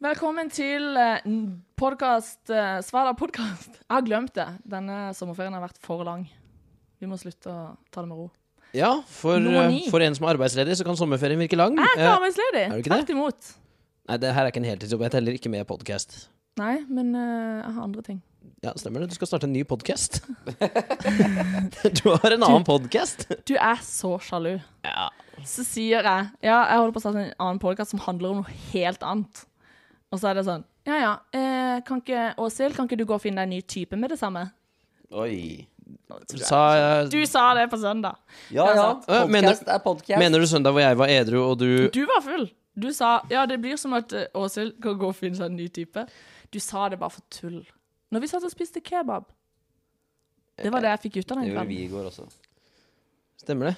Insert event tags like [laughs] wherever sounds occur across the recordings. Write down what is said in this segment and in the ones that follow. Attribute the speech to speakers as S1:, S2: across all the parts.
S1: Velkommen til eh, n- podcast, eh, Svada podkast. Jeg har glemt det. Denne sommerferien har vært for lang. Vi må slutte å ta det med ro.
S2: Ja, for,
S1: Nummer
S2: eh,
S1: ni.
S2: for en som er arbeidsledig, så kan sommerferien virke lang.
S1: Jeg er ikke
S2: Eh,
S1: arbeidsledig.
S2: er du ikke det?
S1: Tvert imot.
S2: Nei, det her er ikke en heltidsjobb. Jeg teller ikke med podkast.
S1: Nei, men eh, jeg har andre ting.
S2: Ja, stemmer det. Du skal starte en ny
S1: [laughs]
S2: podkast. du har en annen podkast.
S1: Du er så sjalu.
S2: Ja.
S1: Så sier jeg Ja, jeg holder på å starte en annen podkast som handler om noe helt annet. Og så er det sånn Ja ja, eh, kan ikke Åshild, kan ikke du gå og finne deg en ny type med det samme?
S3: Oi.
S2: Sa jeg
S1: Du sa det på søndag.
S3: Ja,
S1: Ja,
S3: ja.
S1: sant.
S2: Øh,
S3: Podcast er podcast.
S2: Mener du søndag hvor jeg var edru, og du
S1: Du var full. Du sa ja, det blir som at eh, Åshild kan gå og finne seg en ny type. Du sa det bare for tull. Når vi satt og spiste kebab. Det var det jeg fikk ut av
S3: det
S1: den
S3: gjorde vi
S1: kvelden.
S3: i går også.
S2: Stemmer det?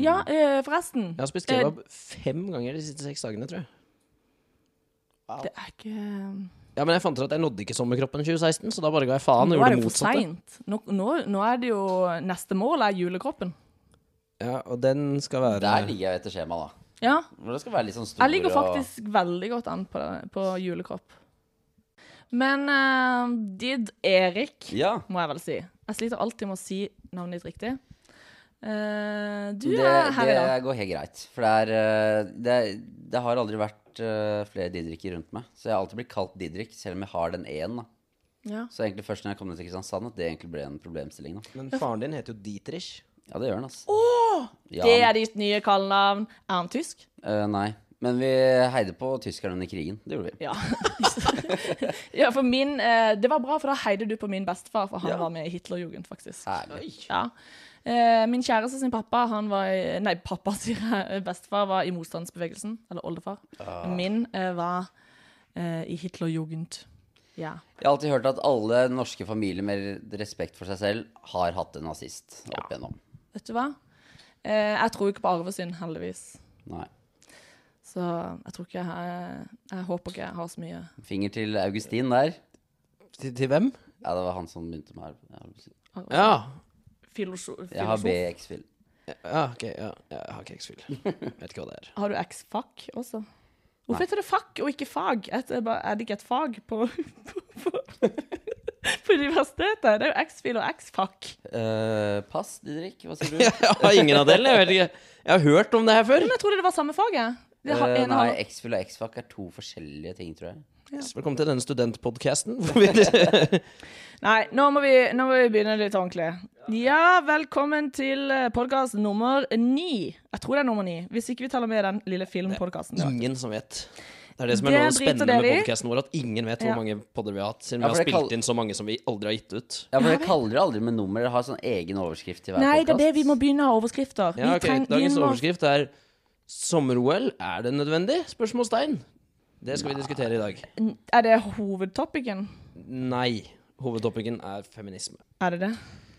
S1: Ja, eh, forresten.
S2: Jeg har spist kebab fem ganger de siste seks dagene, tror jeg.
S1: Det er ikke eh,
S2: Ja, Men jeg fant ut at jeg nådde ikke sommerkroppen 2016, så da bare ga jeg faen og
S1: Nå er
S2: gjorde
S1: det
S2: det
S1: jo for
S2: motsatte.
S1: seint. Nå, nå, nå er det jo Neste mål er julekroppen.
S2: Ja, Og den skal være
S3: Der ligger jeg etter skjema, da.
S1: Ja.
S3: Men det skal være litt sånn stor
S1: Jeg ligger
S3: og-
S1: faktisk veldig godt an på, det, på julekropp. Men eh, Did Erik,
S3: Ja.
S1: må jeg vel si. Jeg sliter alltid med å si navnet ditt riktig. Eh, du
S3: Det,
S1: er her i dag.
S3: det går helt greit. For det er øh, Det, det har aldri vært øh, flere Didriker rundt meg. Så jeg har alltid blitt kalt Didrik, selv om jeg har den én. da.
S1: Ja.
S3: Så egentlig først når jeg kom ned til Kristiansand, at det egentlig ble en problemstilling. da.
S2: Men faren din heter jo Dietrich.
S3: Ja, det gjør den, altså. ja,
S1: Det er ditt nye kallenavn. Er han tysk?
S3: øh, Nei. Men vi heide på tyskerne under krigen. Det gjorde vi.
S1: Ja. [laughs] ja, for min eh, Det var bra, for da heide du på min bestefar, for han
S3: Ja.
S1: var med i Hitlerjugend, faktisk.
S3: Herlig.
S1: Ja. Eh, min kjæreste sin pappa, han var i Nei, pappa, [laughs] sier jeg. Bestefar var i motstandsbevegelsen. Eller oldefar.
S3: Ah.
S1: Min eh, var eh, i Hitlerjugend. Ja.
S3: Jeg har alltid hørt at alle norske familier med respekt for seg selv har hatt en nazist opp igjennom.
S1: Vet du hva? Eh, jeg tror ikke på arvesynd, heldigvis.
S3: Nei.
S1: Så jeg tror ikke jeg har- Jeg håper ikke jeg har så mye
S3: Finger til Augustin der.
S2: Til, til hvem?
S3: Ja, det var han som begynte med her.
S2: Ja.
S1: filosof.
S3: Jeg har
S1: filosof.
S3: BX-fil.
S2: ja, ok. Ja. Jeg har ikke X-fil. Vet ikke hva det er. [laughs]
S1: Har du X-fac også? Hvorfor heter det fac og ikke fag? Et- Er bare- er det ikke et fag på, [laughs] på, på, på universitetet? Det er jo X-fil og X-fac.
S3: Eh, pass, Didrik. Hva sier du? [laughs]
S2: Jeg har ingen av delene. Jeg vet ikke. Jeg har hørt om det her før.
S1: Men jeg trodde det var samme fag, jeg. Det har-
S3: Eh,
S1: ene har-
S3: nei, X-fil og X-fac er to forskjellige ting, tror jeg.
S2: Velkommen til denne studentpodcasten. hvor vi-
S1: Nei, nå må, vi, nå må vi begynne litt ordentlig. Ja, velkommen til podkast nummer ni. Jeg tror det er nummer ni, hvis ikke vi teller med den lille filmpodkasten. der.
S2: ingen som vet. Det er det som er
S1: Det
S2: noe av det
S1: driter
S2: spennende
S1: dere
S2: med
S1: i.
S2: podcasten vår, at ingen vet
S1: Ja.
S2: hvor mange podder vi har hatt, siden
S3: Ja,
S2: vi har
S3: for det
S2: spilt
S3: kall-
S2: inn så mange som vi aldri har gitt ut.
S3: Ja, for Dere kaller det aldri med nummer. Dere har sånn egen overskrift til hver
S1: Nei, det er
S3: podcast.
S1: det vi må begynne av overskrifter. Vi
S2: Ja, ok,
S1: treng- vi
S2: Dagens
S1: må-
S2: overskrift er 'Sommer-OL, er det nødvendig?' Spørsmålstegn. Det skal vi diskutere i dag.
S1: Er det hovedtopicen?
S2: Nei. Hovedtopikken er feminisme.
S1: Er det det?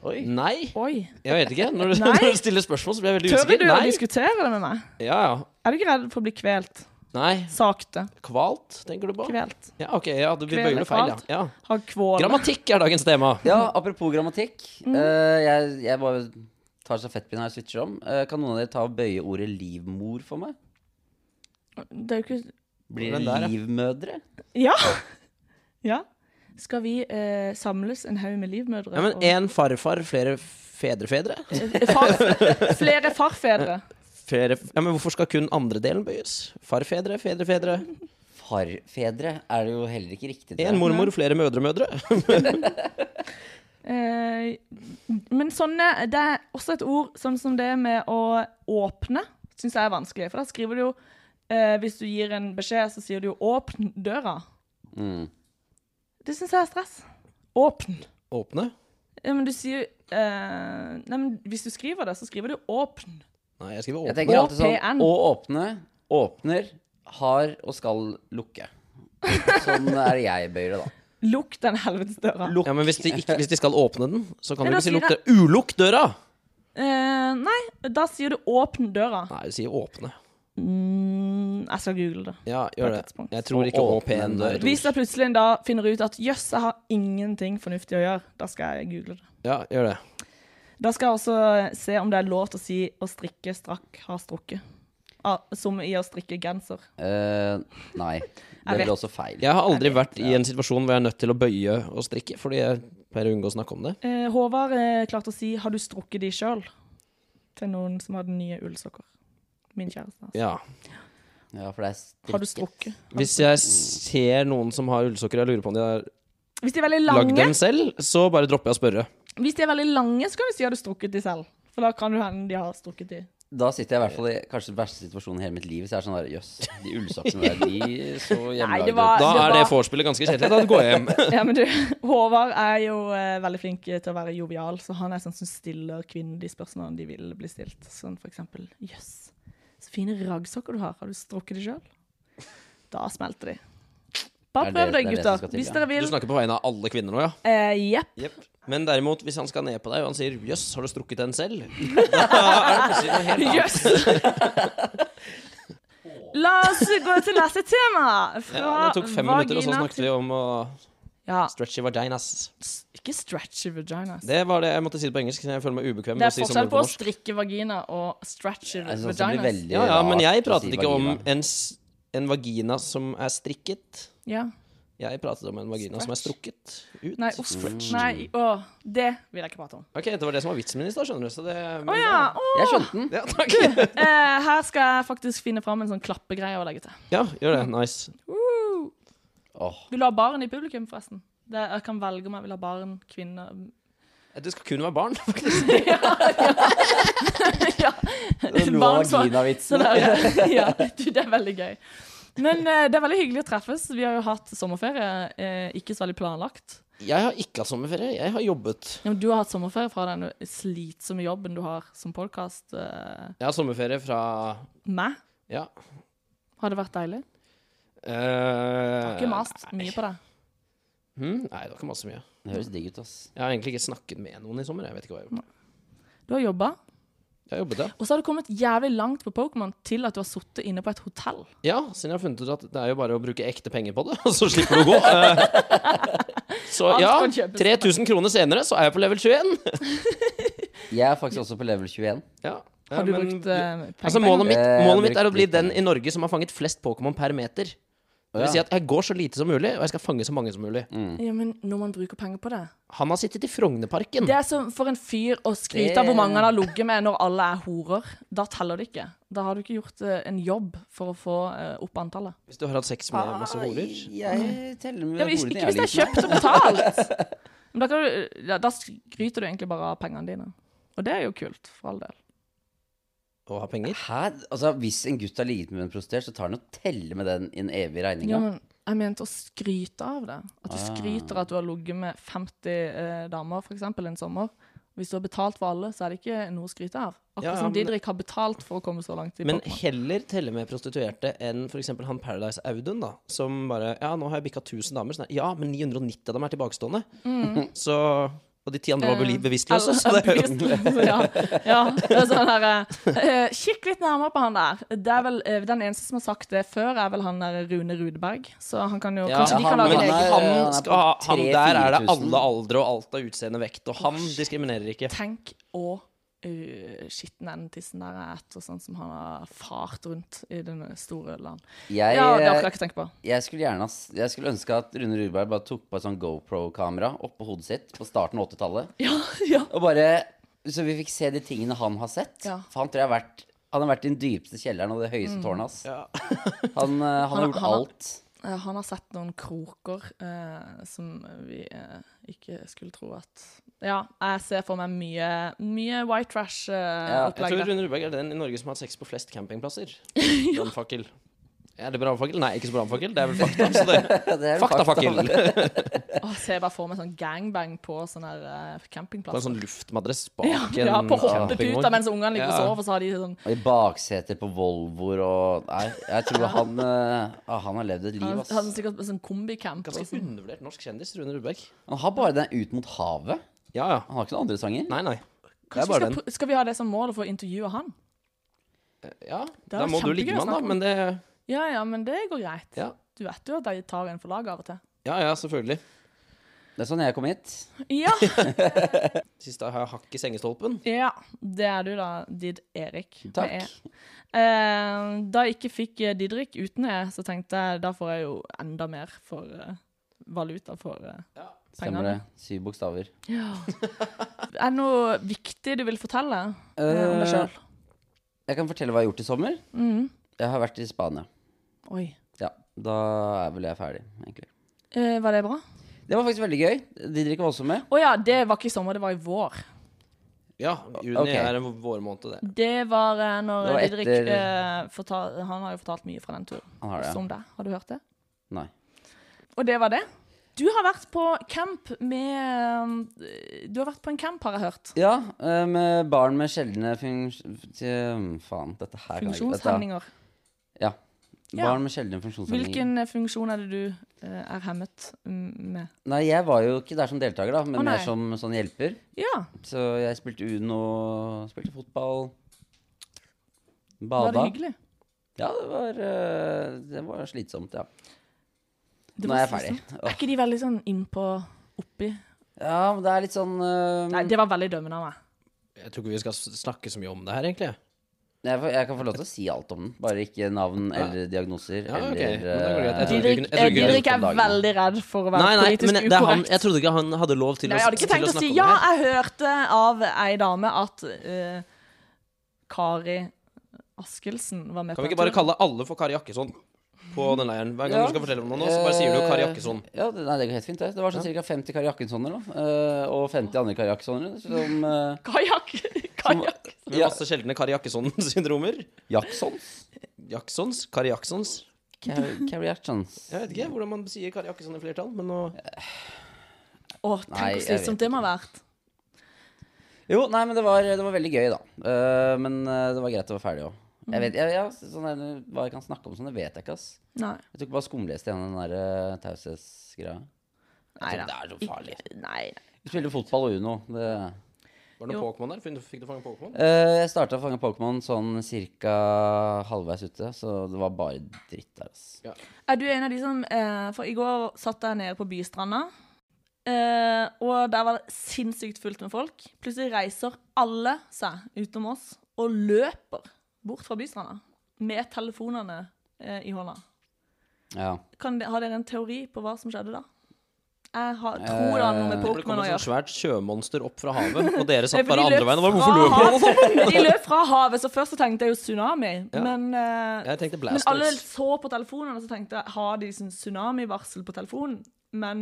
S3: Oi.
S2: Nei.
S1: Oi.
S2: Jeg vet ikke. Når du, [laughs]
S1: Nei.
S2: når du stiller spørsmål, så blir jeg veldig
S1: Tør
S2: usikker.
S1: du å
S2: Nei.
S1: diskutere det med meg?
S2: Ja, ja.
S1: Er du ikke redd for å bli kvelt?
S2: Nei.
S1: Sakte.
S2: Kvalt, tenker du på?
S1: Kvelt.
S2: Ja, ok, ja, du vi
S1: Kvele,
S2: bøyer det feil, ja.
S1: kvalt.
S2: ja.
S1: Har kvål.
S2: Grammatikk er dagens tema.
S3: Ja, apropos grammatikk.
S1: Mm.
S3: eh, jeg, jeg bare tar stafettpinnen her og switcher om. Eh, kan noen av dere ta og bøye ordet livmor for meg?
S1: Det er jo ikke
S3: Blir
S2: Den
S3: det
S2: der, ja.
S3: livmødre?
S1: Ja! [laughs] ja. Skal vi eh, samles en haug med livmødre?
S2: Ja, men
S1: og- [laughs] Eh,
S2: én farfar, flere fedrefedre?
S1: Far, flere farfedre.
S2: Flere, ja, men hvorfor skal kun andre delen bøyes? Farfedre, fedrefedre.
S3: Farfedre er det jo heller ikke riktig.
S2: Én mormor, flere mødremødre.
S1: Eh, men sånne Det er også et ord sånn som det med å åpne, syns jeg er vanskelig. For da skriver du jo eh, Hvis du gir en beskjed, så sier du jo 'åpn døra'.
S3: Mm.
S1: Det syns jeg er stress. Åpn.
S2: Åpne?
S1: Ja, men du sier eh, Nei, men hvis du skriver det, så skriver du 'åpn'.
S2: Nei, jeg skriver
S3: Jeg
S2: åpne.
S3: tenker alltid
S1: OPN.
S3: sånn å åpne, åpner, har og skal lukke. Sånn er jeg bøyer det, da.
S1: Lukk den helvetes døra.
S2: Ja, men hvis de, ikke, hvis de skal åpne den, så kan
S1: Men
S2: du
S1: da
S2: ikke si
S1: sier
S2: lukk døra. Ulukk døra!
S1: Eh, nei, da sier du 'åpn døra'.
S2: Nei, du sier åpne.
S1: Mm, jeg skal google det.
S2: Ja, gjør det.
S1: tidspunkt.
S2: Jeg tror ikke
S3: Å, åpne
S2: åpne
S3: en
S2: dør.
S3: dør.
S1: Hvis jeg plutselig en dag finner ut at 'jøss, jeg har ingenting fornuftig å gjøre', da skal jeg google det.
S2: Ja, gjør det.
S1: Da skal jeg også se om det er lov til å si 'å strikke strakk har strukket'. ah, som i å strikke genser.
S3: Eh, nei. Det
S1: vet.
S3: ble også feil.
S2: Jeg har aldri vært i en situasjon hvor jeg er nødt til å bøye og strikke, fordi jeg pleier å unngå å snakke om det.
S1: Eh, Håvard eh, klarte å si 'har du strukket de sjøl?' til noen som hadde nye ullsokker. Min kjæreste. Altså.
S2: Ja.
S3: Ja, for det er strikket.
S1: Har du strukket?
S2: Hvis jeg ser noen som har ullsokker og jeg lurer på om de har
S1: Hvis de er veldig
S2: lagd
S1: lange,
S2: dem selv, så bare dropper jeg å spørre.
S1: Hvis de er veldig lange, så kan vi si 'har du strukket de selv'? For da kan du hende de har strukket de.
S3: Da sitter jeg i hvert fall i kanskje den verste situasjonen i hele mitt liv. Så jeg er sånn der, jøss, de ullsokkene der, de
S1: [laughs]
S3: så hjemmelagde ut.
S1: var-
S2: Da
S1: Det
S2: er det vorspielet ganske kjedelig. Da
S1: [laughs]
S2: går jeg hjem.
S1: Ja, men du, Håvard er jo eh, veldig flink til å være jovial, så han er sånn som stiller kvinner de spørsmålene de vil bli stilt. Sånn for eksempel 'jøss, så fine raggsokker du har, har du strukket de sjøl?' Da smelter de. Bare
S3: Er det-
S1: prøv
S3: det er
S1: deg,
S3: det som
S1: gutter.
S3: skal til,
S1: Hvis
S3: ja.
S1: dere
S2: Du
S1: vil.
S2: snakker på vegne av alle kvinner nå, ja?
S1: Eh, Jepp.
S2: Men derimot, hvis han skal ned på deg og han sier 'jøss, har du strukket den selv', da er det plutselig noe helt annet.
S1: Jøss! [laughs] La oss gå til neste tema. Fra
S2: Ja, det tok fem minutter, og så snakket vi om å
S1: Ja,
S2: stretchy vaginas.
S1: s- ikke stretchy vaginas. Det,
S2: Det var det jeg måtte si det på engelsk. Jeg føler meg ubekvem med
S1: er
S2: å si som
S1: forskjell på
S2: ord på
S1: å
S2: norsk.
S1: strikke vagina og stretchy
S3: Det er sånn som blir
S1: vaginas.
S3: veldig
S2: Ja, ja, men jeg
S3: rart å
S2: pratet
S3: si
S2: ikke om
S3: vagina.
S2: en, s- en vagina som er strikket.
S1: Ja.
S2: Jeg pratet om en vagina som er strukket ut.
S1: Nei, uff. Nei, å, det vil jeg ikke prate om.
S2: Ok, Det var det som var vitsen min i stad, skjønner du. Så det, men,
S1: Å ja! Å,
S3: Jeg skjønte
S1: [laughs]
S3: den.
S2: ja, [laughs] takk.
S1: eh, her skal jeg faktisk finne fram en sånn klappegreie å legge til.
S2: ja, gjør det. Nice.
S1: Uh.
S3: Åh,
S1: Vil du ha barn i publikum, forresten? Det, jeg kan velge om jeg vil ha barn, kvinner
S2: Det skal kun være barn, [laughs] faktisk.
S1: ja.
S3: lo av
S1: Barn som- Så
S3: vaginavitsen.
S1: det er, [laughs] ja, du, det er veldig gøy. Men eh, det er veldig hyggelig å treffes. Vi har jo hatt sommerferie, eh, ikke så veldig planlagt.
S2: Jeg har ikke hatt sommerferie. Jeg har jobbet.
S1: Ja, men du har hatt sommerferie fra den slitsomme jobben du har som podkast. Eh,
S2: Jeg har sommerferie fra
S1: meg.
S2: Ja. eh,
S1: Har det vært deilig? Jeg har
S2: Ikke
S1: ikke mast mye på deg.
S2: Hmm? Nei, det var ikke masse mye.
S3: Det høres digg ut, ass.
S2: Jeg har egentlig ikke snakket med noen i sommer. Jeg vet ikke hva jeg har gjort.
S1: Du har jobba,
S2: Jeg har jobbet, ja.
S1: og så har du kommet jævlig langt på Pokémon til at du har sittet inne på et hotell.
S2: Ja, siden jeg har funnet ut at det er jo bare å bruke ekte penger på det, [laughs] og så slipper du å gå. Eh, Så
S1: Alt
S2: ja,
S1: kan kjøpes.
S2: 3000 kroner senere så er jeg på level 21.
S3: Jeg er faktisk også på level 21.
S2: Ja.
S1: Har du
S2: Ja, men-
S1: brukt eh, penger?
S2: Altså, målet mitt,
S3: Eh,
S2: målet mitt
S3: brukt
S2: er å bli
S3: litt
S2: den
S3: penger.
S2: i Norge som har fanget flest Pokémon per meter. Det
S3: Å,
S2: vil si
S3: ja.
S2: at jeg går så lite som mulig, og jeg skal fange så mange som mulig.
S1: Ja, men når man bruker penger på det
S2: Han har sittet i Frognerparken.
S1: Det er som for en fyr å skryte av hvor mange han har ligget med når alle er horer. Da teller det ikke. Da har du ikke gjort eh, en jobb for å få eh, opp antallet.
S2: Hvis du har hatt sex
S1: Ah,
S2: med masse horer.
S3: Nei, Jeg teller med
S1: Ja, hvis,
S3: horene
S1: ikke hvis det er
S3: jeg har ligget med.
S1: kjøpt og betalt.
S2: [laughs]
S1: Men da, kan du, ja, da skryter du egentlig bare av pengene dine. Og det er jo kult, for all del.
S2: Og har penger.
S3: Hæ? Altså, hvis en gutt har ligget med en prostituert, så tar han og teller med den i en evig regning.
S1: Ja, men
S3: da.
S1: jeg mente å skryte av det. At du
S2: Ah.
S1: skryter at du har ligget med 50 eh, damer, for eksempel, en sommer. Hvis du har betalt for alle, så er det ikke noe å skryte av. Akkurat
S2: Ja, ja,
S1: som
S2: men-
S1: Didrik har betalt for å komme så langt i
S2: Men
S1: Pokémon.
S2: heller telle med prostituerte enn f.eks. han Paradise Audun, da. Som bare Ja, nå har jeg bikka 1000 damer. Sånn, ja, men 990 av dem er tilbakestående.
S1: Mm.
S2: Så Og de ti andre
S1: Eh,
S2: var beli- bevisstløse. Så
S1: [laughs]
S2: det er jo [laughs]
S1: ja. ja. Det er sånn her eh, Kikk litt nærmere på han der. Det er vel eh, Den eneste som har sagt det før, er vel han der Rune Rudberg. Så han kan jo
S2: ja,
S1: Kanskje de kan
S2: han,
S1: lage en
S2: men
S3: han
S1: egen
S3: er-
S2: han,
S3: han er på
S2: skal, ha- han der er det
S3: 3-4 000.
S2: alle aldre og alt av utseende vekt, og han diskriminerer ikke.
S1: Tenk å uh, skitne den tissen der er etter, sånn som han har fart rundt i den store land.
S3: Jeg,
S1: Ja, det orker jeg eh, ikke tenke på.
S3: jeg skulle gjerne ha s- Jeg skulle ønske at Rune Rudberg bare tok på et sånn GoPro-kamera oppå hodet sitt på starten av 80-tallet.
S1: [laughs] Ja, ja.
S3: Og bare Så vi fikk se de tingene han har sett.
S1: Ja. Mm.
S3: For han tror jeg har vært Han har vært i den dypeste kjelleren og det høyeste tårnet hans.
S2: Ja.
S3: [laughs] Han, eh, han har
S1: Han-
S3: gjort
S1: han-
S3: alt.
S1: Eh, Han har sett noen kroker eh, som vi eh, ikke skulle tro at Ja, jeg ser for meg mye, mye white
S3: Ja,
S2: Jeg
S1: trash-opplegg
S2: tror
S1: der.
S2: Rune Rudberg er den i Norge som har hatt sex på flest
S1: [laughs]
S2: campingplasser. Brannfakkel. Er det brannfakkel? Nei, ikke så brannfakkel. Det er vel fakta. Så det,
S3: Ja, [laughs] det er jo
S2: faktafakkel.
S3: fakta.
S1: Åh, ser jeg bare for meg sånn gangbang på sånn her eh,
S2: På en
S1: campingplass.
S2: sånn luftmadrass bak
S1: [laughs] Ja,
S2: en
S1: ja, på hoppeputa
S2: campingvogn.
S1: mens ungene ligger og
S2: Ja.
S1: sover, så har de sånn
S3: Og i bakseter på Volvoer og Nei, jeg tror han eh, ah, Han har levd et liv,
S1: Han
S3: ass.
S1: hadde sikkert sånn kombicamp. og
S2: Ganske
S1: sånn.
S2: undervurdert norsk kjendis, Rune Rudberg.
S3: Han har bare den ut mot havet.
S2: Ja, ja.
S3: Han har ikke noen andre sanger.
S2: Nei, nei. Det
S1: Kanskje
S2: er
S1: vi
S2: bare
S1: skal,
S2: den.
S1: pr- skal vi ha det som mål å få intervjue han?
S2: Ja,
S1: Det
S2: da
S1: var
S2: må du
S1: kjempegøy
S2: ligge
S1: å
S2: med han,
S1: snakke
S2: da.
S1: om.
S2: Men det
S1: Ja ja, men det går greit.
S2: Ja,
S1: Du vet jo at de tar en for laget av og til.
S2: ja, ja selvfølgelig.
S3: Det er sånn jeg kom hit.
S1: Ja. [laughs]
S2: Siste har jeg hakk i sengestolpen.
S1: ja. Det er du da, Did Erik. med
S3: Takk.
S1: E. Eh, da jeg ikke fikk eh, Didrik uten E, så tenkte jeg da får jeg jo enda mer for eh, valuta for eh,
S3: Stemmer det. Syv bokstaver.
S1: Ja. Er det noe viktig du vil fortelle eh, om deg
S3: Eh,
S1: sjøl?
S3: jeg kan fortelle hva jeg har gjort i sommer.
S1: Mm.
S3: Jeg har vært i Spania.
S1: Oi.
S3: Ja, da er vel jeg ferdig, egentlig.
S1: Eh, var det bra?
S3: Det var faktisk veldig gøy. Didrik var også med.
S1: Å ja, det var ikke i sommer, det var i vår.
S2: Ja, juni
S3: Ok.
S2: er en vårmåned, det.
S1: Det var eh, når
S3: Det var
S1: Didrik
S3: etter-
S1: eh, fortal, Han har jo fortalt mye fra den turen
S3: Han har det.
S1: som deg. Har du hørt det?
S3: Nei.
S1: Og det var det. Du har vært på camp med eh, Du har vært på en camp, har jeg hørt.
S3: Ja, eh, med barn med sjeldne funks... til- Faen, dette her kan jeg ikke dette-
S1: Funksjonshemninger.
S3: Ja.
S1: Ja.
S3: Barn med sjeldne funksjonshemninger.
S1: Hvilken eh, funksjon er det du eh, er hemmet mm, med?
S3: Nei, jeg var jo ikke der som deltaker, da, men
S1: Å, nei.
S3: mer som sånn hjelper.
S1: Ja.
S3: Så jeg spilte Uno, spilte fotball,
S1: Var det
S3: bada.
S1: hyggelig?
S3: Ja, det var, eh, det var slitsomt, ja.
S1: Det
S3: Nå
S1: var
S3: er jeg
S1: slitsomt.
S3: ferdig. Åh.
S1: Er ikke de veldig sånn innpå oppi?
S3: Ja, men det er litt sånn eh,
S1: Nei, det var veldig dømmende av meg.
S2: Jeg tror ikke vi skal s- snakke så mye om det her, egentlig.
S3: jeg, får- jeg kan få lov til å si alt om den, bare ikke navn eller diagnoser.
S2: Ja, ok. Men da går det
S3: Eller,
S2: greit. Jeg
S3: eh,
S2: trodde
S1: Didrik,
S2: ikke- jeg trodde ikke-
S1: Didrik er
S3: om dagen.
S1: veldig redd for å være
S2: Nei, nei,
S1: politisk
S2: men det er han,
S1: ukorrekt.
S2: jeg trodde ikke han hadde lov til,
S1: Nei,
S2: å,
S1: jeg hadde ikke
S2: til
S1: tenkt å si
S2: snakke
S1: ja.
S2: om det. her.
S1: Jeg hørte av ei dame at eh, Kari Askelsen var med
S2: Kan vi ikke
S1: den
S2: bare
S1: turen.
S2: kalle alle for Kari Jakkesson på den leiren? Hver gang
S3: Ja.
S2: du skal fortelle om noe, nå, så bare sier du Kari Jakkesson.
S3: Eh, Ja, det, nei, det går helt fint. Det, det var sånn ca. 50 Kari Jakkessoner, da. eh, og 50 andre Kari Jakkessoner. Som eh,
S1: Kajakk! Kajakk.
S2: Med
S3: Ja.
S2: masse sjeldne Kari [laughs] Jakkesson-syndromer.
S3: Jacksons.
S2: Jacksons? Kari Jacksons? [laughs]
S3: Kari Kari Jacksons.
S2: Jeg vet ikke hvordan man sier Kari Jakkesson i flertall, men nå
S1: Å, tenk
S3: Nei,
S1: hvor
S3: jeg
S1: slitsomt
S3: vet
S1: det må ha vært.
S3: Jo, nei, men det var, det var veldig gøy, da. Eh, men eh, det var greit å være ferdig òg.
S2: Mm.
S3: Jeg vet, jeg, jeg, sånn der, hva jeg kan snakke om sånn, det vet jeg ikke, ass.
S1: Nei.
S3: Jeg tok bare skumleste igjen den der eh, taushetsgreia.
S1: Nei
S3: Så
S1: da.
S3: Det er så farlig.
S1: Ikke- Nei, nei.
S3: Vi spilte fotball og Uno. Det.
S2: Var det noe
S1: Jo.
S2: Pokémon der? Fin- Fikk du fange Pokémon?
S3: Eh, jeg starta å fange Pokémon sånn cirka halvveis ute, så det var bare dritt der, ass.
S1: Er du en av de som eh, For i går satt jeg nede på Bystranda. eh, og der var det sinnssykt fullt med folk. Plutselig reiser alle seg utenom oss og løper bort fra Bystranda med telefonene eh, i hånda.
S3: Ja.
S1: Kan de, har dere en teori på hva som skjedde da? Jeg har, tror det har noe med
S2: Eh, Det kom
S1: Pokémon å
S2: et sånt
S1: gjøre.
S2: sånn svært sjømonster opp fra havet, og dere satt
S1: For
S2: bare
S1: de løp
S2: andre veien. Og bare,
S1: fra
S2: hvorfor løper du?
S1: havet. De løp fra havet, så først så tenkte jeg jo tsunami.
S2: Ja.
S1: Men, eh,
S2: Jeg tenkte
S1: men alle
S2: Blastoise.
S1: så på telefonen og så tenkte jeg, har de sånn tsunamivarsel på telefonen? Men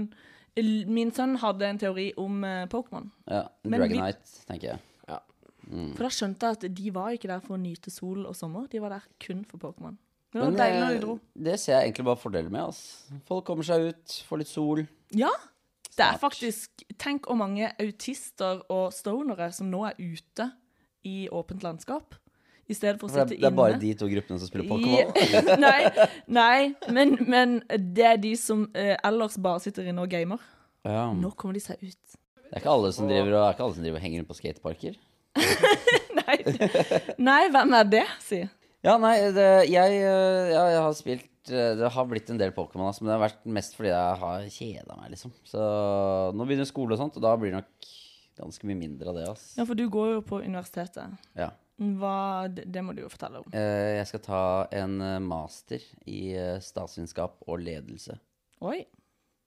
S1: l- min sønn hadde en teori om eh, Pokémon.
S3: ja.
S1: Men vi-
S3: Dragonite, tenker jeg.
S1: For da skjønte jeg at de var ikke der for å nyte sol og sommer, de var der kun for Pokémon. Men Det var
S3: Men,
S1: deilig når de
S3: eh,
S1: dro.
S3: det ser jeg egentlig bare fordeler med, ass. Folk kommer seg ut, får litt sol.
S1: Ja, det er
S3: Snart.
S1: faktisk Tenk hvor mange autister og stonere som nå er ute i åpent landskap, i stedet for å
S3: For
S1: sitte
S3: det,
S1: inne.
S3: det er bare de to gruppene som spiller Pokémon.
S1: I- [laughs] nei, nei men, men det er de som eh, ellers bare sitter inne og gamer.
S3: Ja.
S1: Nå kommer de seg ut.
S3: Det er ikke alle som driver og, det er ikke alle som driver og henger rundt på skateparker.
S1: Nei, nei hvem er det, si?
S3: Ja, nei, det, jeg, øh, ja, jeg har spilt øh, Det har blitt en del Pokémon, ass, men det har vært mest fordi jeg har kjeda meg, liksom. Så nå begynner skole og sånt, og da blir det nok ganske mye mindre av det, ass.
S1: Ja, for du går jo på universitetet.
S3: Ja.
S1: Hva, det, det må du jo fortelle om.
S3: Eh, Jeg skal ta en eh, master i eh, statsvitenskap og ledelse.
S1: Oi.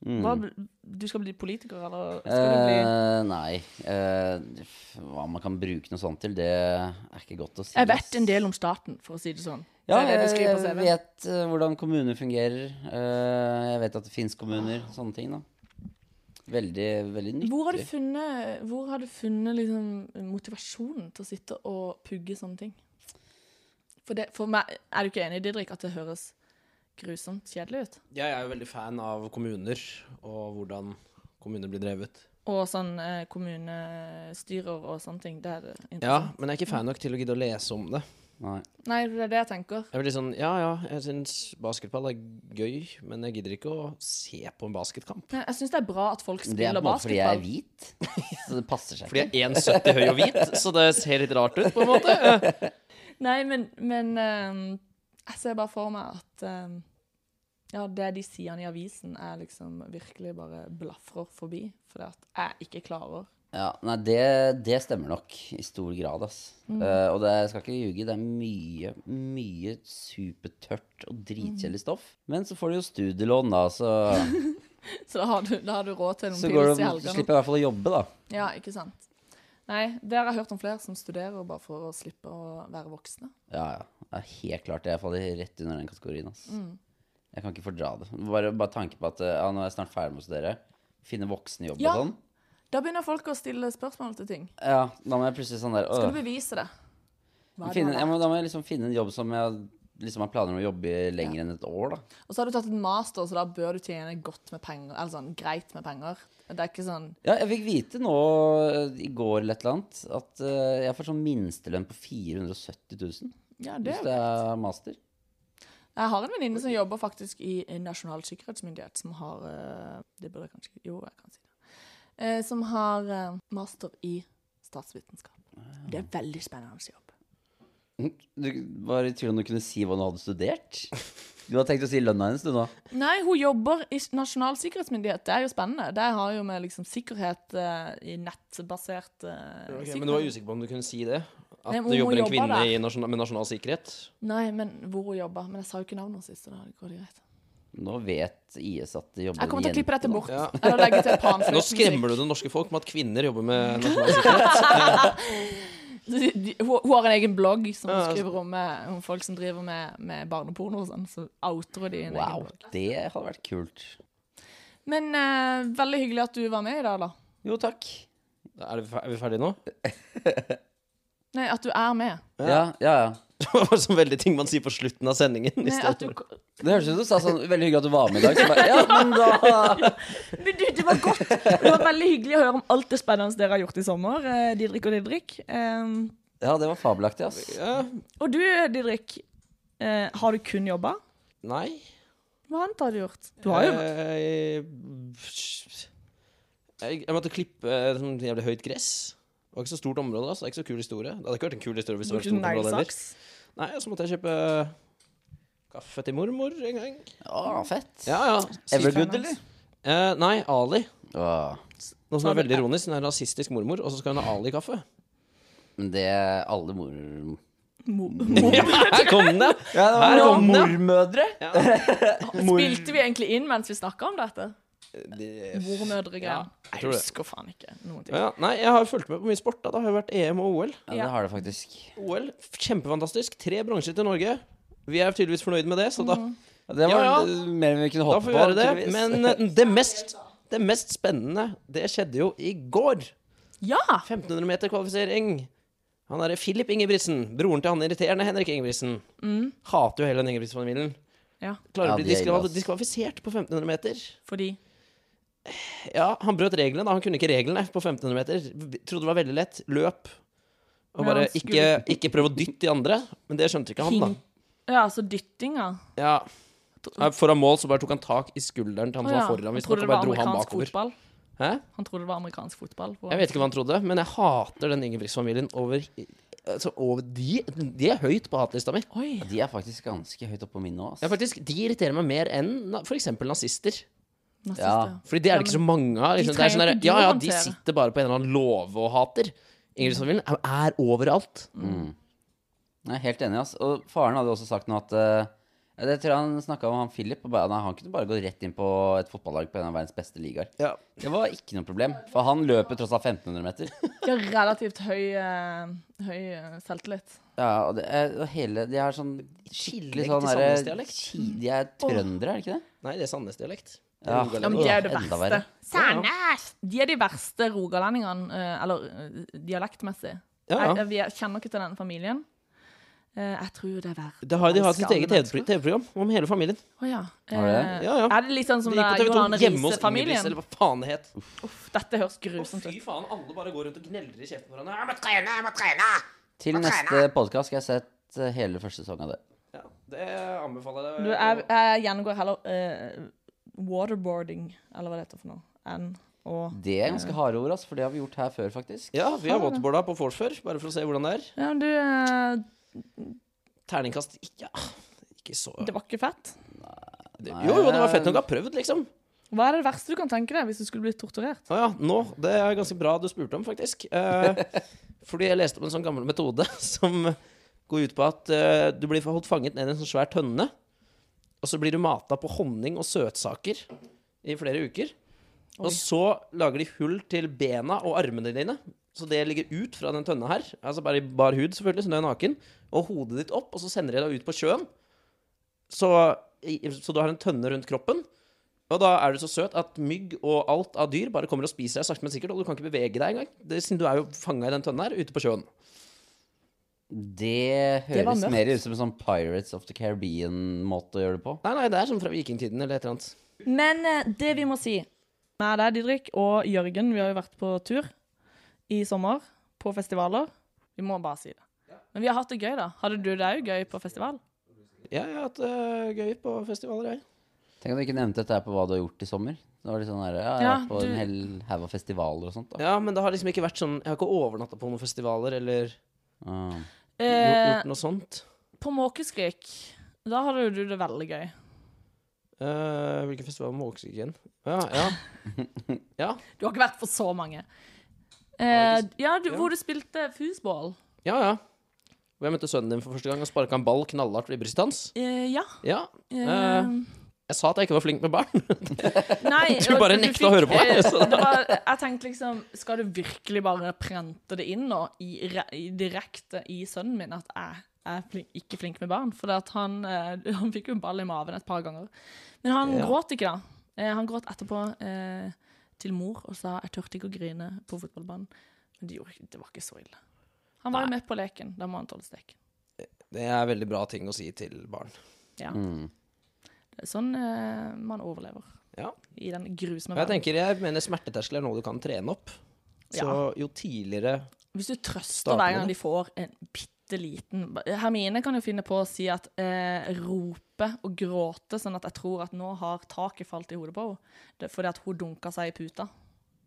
S1: Hva, bl- du skal bli politiker, eller skal du bli
S3: Mm. Eh, nei. eh, f- hva man kan bruke noe sånt til, det er ikke godt å si.
S1: Jeg vet
S3: ass.
S1: en del om staten, for å si det sånn.
S3: Ja,
S1: det er det du
S3: jeg,
S1: skriver på
S3: jeg
S1: CV-en.
S3: vet eh, hvordan kommuner fungerer. eh, jeg vet at det fins kommuner. Sånne ting, da. Veldig, veldig nyttig.
S1: Hvor har du funnet, hvor har du funnet liksom, motivasjonen til å sitte og pugge sånne ting? For, det, for meg, Er du ikke enig, Didrik, at det høres grusomt kjedelig ut?
S2: Jeg er jo veldig fan av kommuner, og hvordan kommuner blir drevet.
S1: Og sånn eh, kommunestyrer og sånne ting. Det er
S2: Ja,
S1: interessant.
S2: men jeg er ikke fan nok til å gidde å lese om det.
S3: Nei.
S1: Nei, det er det jeg tenker.
S2: Jeg blir litt sånn, ja ja, jeg syns basketball er gøy, men jeg gidder ikke å se på en basketkamp.
S1: Men jeg syns det er bra at folk
S3: Det er på
S1: spiller
S3: en måte fordi jeg er
S1: basketball.
S3: hvit. Så det passer
S1: [laughs]
S3: seg
S2: Fordi
S3: ikke.
S2: jeg er 1,70 høy og hvit, så det ser litt rart ut, på en måte.
S1: Nei, men, men eh, jeg ser bare for meg at eh, Ja, det de sier i avisen, er liksom virkelig bare blafrer forbi. Fordi at jeg ikke klarer.
S3: Ja, nei, det, det stemmer nok i stor grad, ass.
S1: Mm.
S3: Eh, og det, jeg skal ikke ljuge, det er mye, mye supertørt og
S1: Mm.
S3: dritkjedelig stoff. Men så får du jo studielån, da,
S1: [laughs]
S3: så,
S1: Så da har du, da har du råd til
S3: så
S1: noen
S3: går
S1: pils
S3: det,
S1: i
S3: så
S1: helgene.
S3: slipper jeg i hvert fall å jobbe, da.
S1: Ja, ikke sant. Nei, det har jeg hørt om flere som studerer bare for å slippe å være voksne.
S3: Ja, ja. ja helt klart. Jeg faller rett under den kategorien, ass.
S1: Mm.
S3: Jeg kan ikke fordra det. Bare, bare tanke på at eh, ja, nå er jeg snart ferdig med å studere. Finne voksen jobb
S1: Ja.
S3: og sånn.
S1: Da begynner folk å stille spørsmål til ting.
S3: Ja, da må jeg plutselig sånn der
S1: Skal
S3: «Åh».
S1: du bevise det? Hva er det
S3: finne,
S1: du har
S3: jeg må, Da må jeg liksom finne en jobb som jeg liksom har planer om å jobbe i lenger enn et år, da.
S1: Og så har du tatt en master, så da bør du tjene godt med penger. Eller sånn greit med penger. Det er ikke sånn
S3: Ja, jeg fikk vite nå eh, i går eller et eller annet at eh, jeg får sånn minstelønn på 470 000
S1: Ja, det
S3: hvis
S1: er
S3: det er master. [laughs]
S1: Jeg har en venninne som jobber faktisk i eh, Nasjonal sikkerhetsmyndighet, som har eh, Det burde jeg kanskje ikke Jo, jeg kan si det. Eh, Som har eh, master i statsvitenskap.
S2: Ah.
S1: Det er veldig spennende jobb.
S3: Du var i tvil om du kunne si hva du hadde studert. Du hadde tenkt å si lønna hennes, du nå.
S1: Nei, hun jobber i Nasjonal sikkerhetsmyndighet. Det er jo spennende. Det har jo med liksom sikkerhet eh, i nettbasert eh,
S2: Ok,
S1: sikkerhet
S2: men du var usikker på om du kunne si det? At
S1: Nei, om
S2: du
S1: hun
S2: jobber en
S1: jobber
S2: kvinne
S1: der.
S2: i nasjonal, med nasjonal sikkerhet?
S1: Nei, men hvor hun jobber. Men jeg sa jo ikke navnet hennes sist, så da går det greit.
S3: Nå vet IS at det jobber
S1: Jeg kommer til å klippe dette bort.
S2: Ja.
S1: Eller legge til
S2: Nå skremmer du det norske folk med at kvinner jobber
S1: [laughs]
S2: med nasjonal sikkerhet.
S1: De- de- Hun hun har en egen blogg som
S2: Ja,
S1: hun
S2: altså.
S1: skriver om, eh, om folk som driver med, med barneporno og sånn. Så outer hun de i en egen
S3: Wow,
S1: blogg.
S3: det hadde vært kult.
S1: Men eh, veldig hyggelig at du var med i dag, da.
S3: Jo, takk.
S2: Er, det, fer- er vi ferdige nå? [laughs]
S1: Nei, at du er med.
S3: Ja, ja, ja.
S2: Det var sånn veldig ting man sier på slutten av sendingen. i
S1: Nei,
S2: stedet
S1: at du,
S2: for-
S3: Det høres ut som du sa sånn Veldig hyggelig at du var med i dag. Så bare, ja, men da [laughs]
S1: men du, det var godt! Det var veldig hyggelig å høre om alt det spennende dere har gjort i sommer. eh, Didrik og Didrik. Eh,
S3: Ja, det var fabelaktig, ass.
S2: Ja,
S1: og du, Didrik. eh, har du kun jobba?
S2: nei.
S1: Hva annet har du gjort? Du har jo
S2: Eh, Jeg, jeg måtte klippe eh, sånn jævlig høyt gress. Det var ikke så stort område. Altså. Det er ikke så kul historie. Det hadde ikke vært en kul historie hvis det var et
S1: brukt
S2: stort område heller.
S1: neglesaks.
S2: Nei, så måtte jeg kjøpe kaffe til mormor en gang.
S3: Å, fett.
S2: Ja, ja.
S3: Evergood, eller?
S2: Eh, nei, Ali.
S3: Åh,
S2: Noe som
S1: Sa
S2: er
S1: du-
S2: veldig ironisk. Hun er rasistisk mormor, og så skal hun ha Ali-kaffe.
S3: men det Alle mor...
S1: Mo-
S2: [laughs] Ja, her kom den, ja!
S3: Ja, det
S2: Her
S3: noen
S2: kom den,
S3: mormødre. [laughs]
S2: ja. Mor-
S1: Spilte vi egentlig inn mens vi snakka om dette?
S2: Eh, Det- Ja,
S1: Mormødregreier.
S2: jeg
S1: jeg
S2: tror det.
S1: husker faen ikke noen ting.
S2: Ja, ja. Nei, jeg har fulgt med på mye sport. Da. Det har jo vært EM og OL.
S3: Ja, det har det faktisk.
S2: OL, Kjempefantastisk. Tre bronser til Norge. Vi er tydeligvis fornøyd med det, så da,
S3: Ja, det var
S2: Ja, ja.
S3: eh, mer enn vi kunne
S2: da
S3: håpe
S2: får
S3: på.
S2: vi gjøre det.
S3: tydeligvis. [laughs]
S2: Men eh, det mest, det mest spennende, det skjedde jo i går.
S1: Ja!
S2: 1500 meter kvalifisering. Han derre Filip Ingebrigtsen, broren til han irriterende Henrik Ingebrigtsen, hater jo hele den Ingebrigtsen-familien.
S1: Ja.
S2: Klarer
S3: Ja,
S2: å bli
S3: de er ille,
S2: diskval
S3: ass.
S2: diskvalifisert på 1500 meter.
S1: Fordi
S2: Ja, han brøt reglene. da. Han kunne ikke reglene på 1500 meter. V- Trodde det var veldig lett. Løp. Og
S1: Men
S2: bare
S1: han
S2: ikke,
S1: skulle-
S2: ikke prøv å dytte de andre. Men det skjønte ikke han, da.
S1: King. Ja, altså dyttinga.
S2: Ja. Ja, Foran mål så bare tok han tak i skulderen til
S1: Å
S2: han som
S1: ja,
S2: var foran.
S1: Han
S2: Hvis nok,
S1: trodde det
S2: og
S1: var
S2: bare dro han
S1: amerikansk
S2: bakover.
S1: fotball.
S2: Hæ?
S1: Han trodde det var amerikansk fotball.
S2: Jeg vet ikke hva han trodde, men jeg hater den Ingebrigtsen-familien over, altså, over de, de er høyt på hatlista mi.
S1: Oi.
S3: De er faktisk ganske høyt oppe på min nå, ass.
S2: Ja, faktisk, De irriterer meg mer enn na- for eksempel nazister.
S1: nazister.
S3: Ja.
S2: Fordi det er
S1: Ja,
S2: det ikke
S1: men
S2: så mange av. Liksom. Det er
S1: trenger
S2: sånn der,
S1: ikke du
S2: ja,
S1: å
S2: ja, De
S1: håndtere.
S2: sitter bare på en eller annen låve og hater. Ingebrigtsen-familien er- er overalt.
S3: Jeg er helt enig, ass. Og faren hadde også sagt noe at eh, ja, Det tror jeg han snakka om han Philip. Og bare, nei, han kunne bare gå rett inn på et fotballag på en av verdens beste ligaer.
S2: Ja.
S3: Det var ikke noe problem, for han løper tross alt 1500 meter.
S1: De har relativt høy, eh, høy eh, selvtillit.
S3: Ja, og det er, og hele, De er sånn skikkelig
S2: tillegg
S3: sånn
S2: til
S3: derre
S2: Sandnes-dialekt.
S3: ki- De er trøndere, er det ikke det?
S2: Nei, det er Sandnes-dialekt. Det er
S3: Ja.
S2: Rogaland.
S1: Ja, men de er jo det
S3: Åh, enda verre.
S1: verste. Sandnes! De er de verste rogalendingene, eh, eller eh, dialektmessig.
S2: Ja, ja.
S1: Jeg, vi er- kjenner ikke til den familiien. Eh, Jeg tror jo det er verre.
S2: Det har de
S1: Ganske
S2: hatt sitt eget
S1: alle mennesker.
S2: TV-program om hele familien.
S1: Å ja.
S3: Har de det?
S1: Eh,
S2: Ja, ja.
S1: Er det litt sånn som
S2: Det
S1: det
S2: gikk på
S1: er
S2: TV2
S1: Johanne
S2: hjemme hos Ingebrigtsen,
S1: Riise-familien?
S2: eller hva faen det het.
S1: Uff, dette høres
S2: Å,
S1: grusomt ut.
S2: fy faen, alle bare går rundt og gneller i kjeften hverandre. Ja, men-
S3: Til neste podkast skal jeg ha sett eh, hele første sesong av det.
S2: Ja, det anbefaler jeg.
S1: Du, jeg, jeg gjennomgår heller eh, waterboarding, eller hva det heter for noe, enn å
S3: Det er ganske harde ord, ass, for det har vi gjort her før, faktisk.
S2: Ja, vi har waterboarda på vors før, bare for å se hvordan det er.
S1: Ja, men du, eh,
S2: Terningkast ja, ikke så
S1: det var ikke fett.
S2: Det Jo, jo, det var fett nok å ha prøvd, liksom.
S1: Hva er det verste du kan tenke deg hvis du skulle blitt torturert?
S2: Å ja, nå. Det er ganske bra du spurte om, faktisk. Eh, fordi jeg leste om en sånn gammel metode [laughs] som går ut på at eh, du blir holdt fanget ned i en sånn svær tønne, og så blir du mata på honning og søtsaker i flere uker. Og så lager de hull til bena og armene dine, så det ligger ut fra den tønna her. Altså bare i bar hud, selvfølgelig, så du er naken. Og hodet ditt opp, og så sender de deg ut på sjøen. Så, i, så du har en tønne rundt kroppen. Og da er du så søt at mygg og alt av dyr bare kommer og spiser deg sakte, men sikkert, og du kan ikke bevege deg engang. Det, siden du er jo fanga i den tønna her, ute på sjøen.
S3: Det
S1: var
S3: høres
S1: mørkt.
S3: mer ut som en sånn Pirates of the Caribbean-måte å gjøre det på.
S2: Nei, nei, det er som fra vikingtiden eller et eller annet.
S1: Men eh, det vi må si Med deg, Didrik, og Jørgen, vi har jo vært på tur i sommer. På festivaler. Vi må bare si det. Men vi har hatt det gøy, da. Hadde du det òg gøy på festival?
S2: Ja, jeg har hatt det gøy på festivaler, jeg.
S3: Tenk at du ikke nevnte dette her på hva du har gjort i sommer. Det var litt sånn der, ja, jeg har
S1: Ja,
S3: vært på
S1: du-
S3: en hel haug av festivaler og sånt. da.
S2: Ja, men det har liksom ikke vært sånn Jeg har ikke overnatta på noen festivaler eller
S3: Ah.
S2: gjort,
S1: Eh,
S2: gjort noe sånt.
S1: på Måkeskrik, da hadde jo du det veldig gøy.
S2: Eh, hvilken festival var Måkeskrik igjen? Ja, [laughs] ja. ja.
S1: Du har ikke vært på så mange. Eh,
S2: Har jeg
S1: ja, du,
S2: ja.
S1: hvor du spilte foosball.
S2: Ja, ja. Hvor jeg møtte sønnen din for første gang og sparka en ball knallhardt i brystet hans.
S1: Eh, ja.
S2: Ja.
S1: eh,
S2: Jeg sa at jeg ikke var flink med barn.
S1: nei,
S2: [laughs] Du bare
S1: og
S2: nekta å høre på meg,
S1: eh,
S2: [laughs] så-
S1: det var, jeg tenkte liksom Skal du virkelig bare prente det inn nå, i, re- i, direkte i sønnen min, at jeg er flink, ikke flink med barn? For det at han, eh, [laughs] han fikk jo en ball i maven et par ganger. Men han
S2: Ja.
S1: gråt ikke, da. Eh, han gråt etterpå eh, til mor og sa 'jeg turte ikke å grine på fotballbanen'. Men det, gjorde, ikke- det var ikke så ille. Han var jo med på leken. Da må han tåle steken.
S2: [laughs] Det er veldig bra ting å si til barn.
S1: Ja. Det er sånn eh, man overlever
S2: Ja.
S1: i den grusomme
S2: Og Jeg
S1: verden.
S2: tenker, jeg mener smerteterskel er noe du kan trene opp. Så
S1: Ja.
S2: jo tidligere
S1: Hvis du trøster
S2: Starten
S1: hver
S2: med
S1: gang
S2: det.
S1: de får en bitte liten Hermine kan jo finne på å si at eh, rope og gråte, sånn at jeg tror at nå har taket falt i hodet på henne. Det er Fordi at hun dunka seg i puta.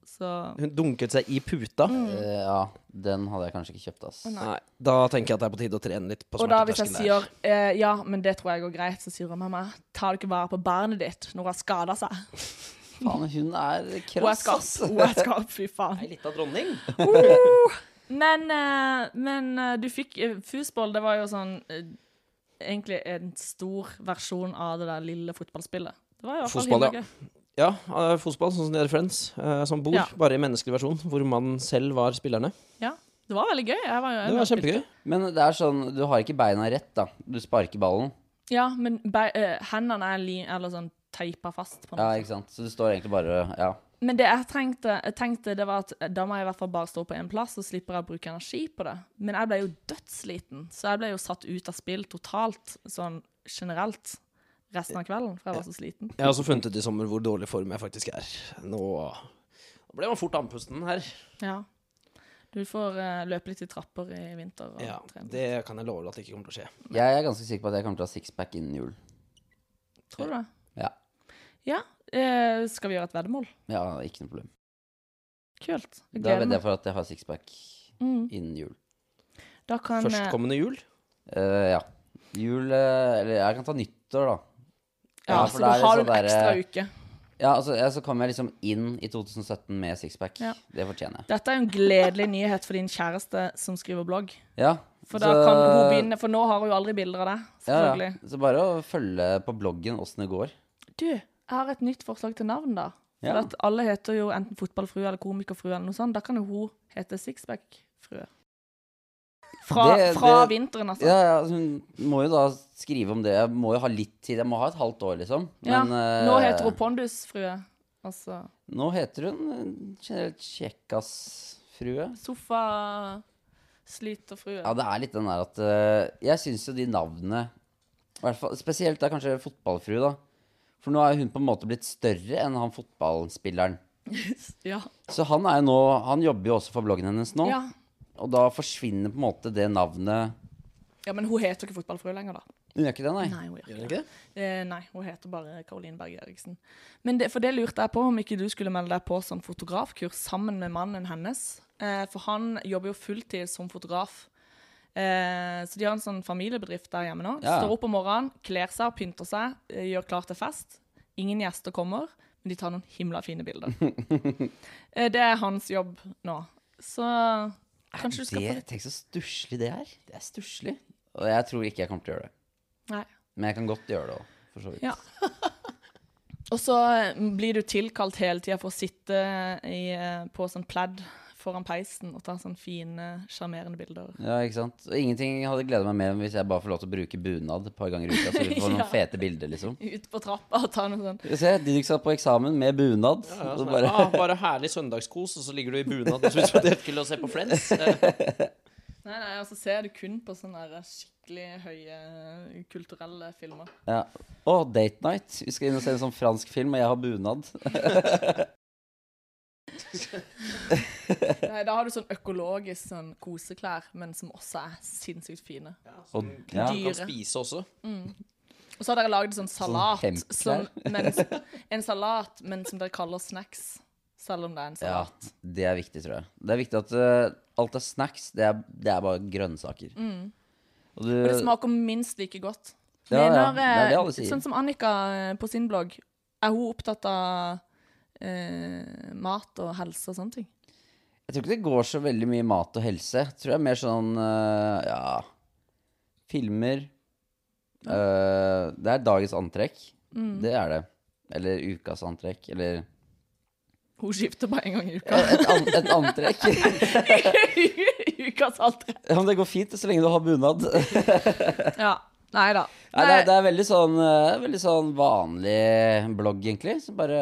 S1: Så
S2: Hun dunket seg i puta.
S1: Mm.
S3: Eh, ja, den hadde jeg kanskje ikke kjøpt, ass.
S2: Nei, da tenker jeg at det er på tide å trene litt på
S1: Og da hvis jeg
S2: smerteterskelen.
S1: sier eh, ja, men det tror jeg går greit, så sier hun mamma, tar du ikke vare på barnet ditt når hun har skada
S2: [laughs]
S1: seg?
S3: Faen, hun er
S1: Hun er
S3: krass,
S1: skarp.
S3: ass.
S1: Hun er skarp, fy faen.
S2: Ei lita dronning.
S1: Men, eh, men eh, du fikk eh, Foosball, det var jo sånn eh, Egentlig en stor versjon av det der lille fotballspillet. Det var i hvert fall
S2: Fotball,
S1: hyggelig.
S2: ja. Ja, eh, fotball, sånn som de er i Friends. eh, Som bor,
S1: Ja.
S2: bare i menneskelig versjon, hvor man selv var spillerne.
S1: Ja. Det var veldig gøy. Jeg var jo
S2: Det var kjempegøy.
S3: Men det er sånn, du har ikke beina rett, da. Du sparker ballen.
S1: Ja, men bei- eh, hendene er li eller sånn teipa fast. på
S3: Ja,
S1: noe.
S3: ikke sant? Så du står egentlig bare Ja.
S1: Men det jeg trengte, jeg tenkte, det var at eh, da må jeg i hvert fall bare stå på én plass, så slipper jeg å bruke energi på det. Men jeg ble jo dødssliten, så jeg ble jo satt ut av spill totalt, sånn generelt, resten av kvelden, for jeg var så sliten.
S2: Jeg har også funnet ut i sommer hvor dårlig form jeg faktisk er. Nå Nå ble man fort andpusten her.
S1: Ja. Du får eh, løpe litt i trapper i vinter og
S2: Ja,
S1: trene.
S2: Det kan jeg love deg at det ikke kommer til å skje.
S3: Jeg er ganske sikker på at jeg kommer til å ha sixpack innen jul.
S1: Tror du det?
S3: Ja.
S1: Ja. Eh, skal vi gjøre et veddemål?
S3: Ja, ikke noe problem.
S1: Kult. Jeg
S3: Da
S1: gleder
S3: vedder jeg
S1: meg.
S3: for at jeg har sixpack
S1: Mm.
S3: innen jul.
S1: Da kan eh,
S2: Førstkommende jul.
S3: Eh, ja. Jul eh, Eller jeg kan ta nyttår, da.
S1: Ja,
S3: Ja,
S1: så
S3: for da
S1: da
S3: er det
S1: har du en
S3: sånn
S1: ekstra
S3: derre-
S1: uke.
S3: Ja, altså, ja, Så kommer jeg liksom inn i 2017 med sixpack.
S1: Ja.
S3: Det fortjener jeg.
S1: Dette er jo en gledelig nyhet for din kjæreste som skriver blogg.
S3: Ja,
S1: For da kan hun begynne, for nå har hun jo aldri bilder av deg.
S3: Ja,
S1: Selvfølgelig.
S3: ja. Så bare å følge på bloggen åssen det går.
S1: Du, jeg har et nytt forslag til navn, da. For
S3: Ja.
S1: at alle heter jo enten fotballfrue eller komikerfrue eller noe sånt. Da kan jo hun hete Sixpack-frue. Fra,
S3: Det-
S1: fra
S3: det-
S1: vinteren, altså.
S3: Ja, ja, altså, Hun må jo da skrive om det. Jeg må jo ha litt tid. Jeg må ha et halvt år, liksom.
S1: Ja,
S3: Men,
S1: Nå
S3: eh,
S1: heter hun Pondusfrue. Altså
S3: Nå heter hun eh, generelt Kjekkas-frue.
S1: sofasliterfrue.
S3: Ja, det er litt den der at eh, Jeg syns jo de navnene i hvert fall, Spesielt da kanskje fotballfrue, da. For nå er hun på en måte blitt større enn han fotballspilleren.
S1: [laughs] Ja.
S3: Så han er jo nå Han jobber jo også for bloggen hennes nå.
S1: Ja.
S3: Og da forsvinner på en måte det navnet
S1: ja, men hun heter ikke fotballfrue lenger, da.
S3: Hun gjør ikke det, nei?
S1: Nei, hun gjør
S2: Gjør
S1: ikke
S2: den
S1: det.
S2: ikke det?
S1: Eh, nei, hun heter bare Caroline Berg Eriksen. Men det, for det lurte jeg på om ikke du skulle melde deg på som fotografkurs sammen med mannen hennes. Eh, for han jobber jo fulltid som fotograf. Eh, så de har en sånn familiebedrift der hjemme nå.
S3: Ja.
S1: Står opp om morgenen, kler seg, pynter seg, eh, gjør klar til fest. Ingen gjester kommer, men de tar noen himla fine
S3: [laughs]
S1: bilder. eh, det er hans jobb nå. Så kanskje du skal få
S3: det,
S1: litt
S3: tenk så stusslig det er. Det er stusslig. Og jeg tror ikke jeg kommer til å gjøre det.
S1: Nei.
S3: Men jeg kan godt gjøre det òg, for så vidt.
S1: Ja. Og så eh, blir du tilkalt hele tida for å sitte i, eh, på sånn pledd foran peisen og ta sånne fine, sjarmerende bilder.
S3: Ja, ikke sant? Og ingenting hadde gleda meg mer enn hvis jeg bare får lov til å bruke bunad et par ganger i uka. Så vi
S1: [laughs]
S3: får noen
S1: Ja.
S3: fete bilder, liksom.
S1: Ut på trappa og ta noe sånn
S3: Se, Didrik satt på eksamen med bunad.
S2: Ja, ja,
S3: og
S2: sånn,
S3: bare,
S2: ah, bare herlig søndagskos, og så ligger du i bunad og [laughs] spiser potetgull og ser på Friends. [laughs] Eh,
S1: Nei, nei, altså ser du kun på sånne der skikkelig høye kulturelle filmer.
S3: ja. Å, date night. Vi skal inn og se en sånn fransk film, og jeg har bunad.
S1: Nei, Da har du sånn økologisk sånn koseklær, men som også er sinnssykt fine.
S3: Og, ja.
S2: Du kan
S1: Dyre.
S2: spise også.
S1: Og så har dere lagd sånn salat,
S3: hempklær.
S1: som, men, en salat, men som dere kaller snacks. Selv om det er en
S3: ja,
S1: salat.
S3: det er viktig, tror jeg. Det er viktig at eh, alt er snacks. Det er, det er bare grønnsaker. Og du,
S1: Og det smaker minst like godt.
S3: Eh, Ja, ja,
S1: Mener,
S3: det er det
S1: eh,
S3: alle sier.
S1: Sånn som Annika eh, på sin blogg, er hun opptatt av eh, mat og helse og sånne ting?
S3: Jeg tror ikke det går så veldig mye mat og helse. Jeg tror det er mer sånn eh, ja Filmer. Eh, det er dagens antrekk. Det er det. Eller ukas antrekk. Eller
S1: Hun skifter bare en gang i [laughs] uka.
S3: et, an et antrekk. [laughs]
S1: Ukas alt
S3: ja, men det går fint så lenge du har bunad. Nei,
S1: Ja. Nei da.
S3: det, er, det er veldig sånn, eh, veldig sånn vanlig blogg, egentlig. Som bare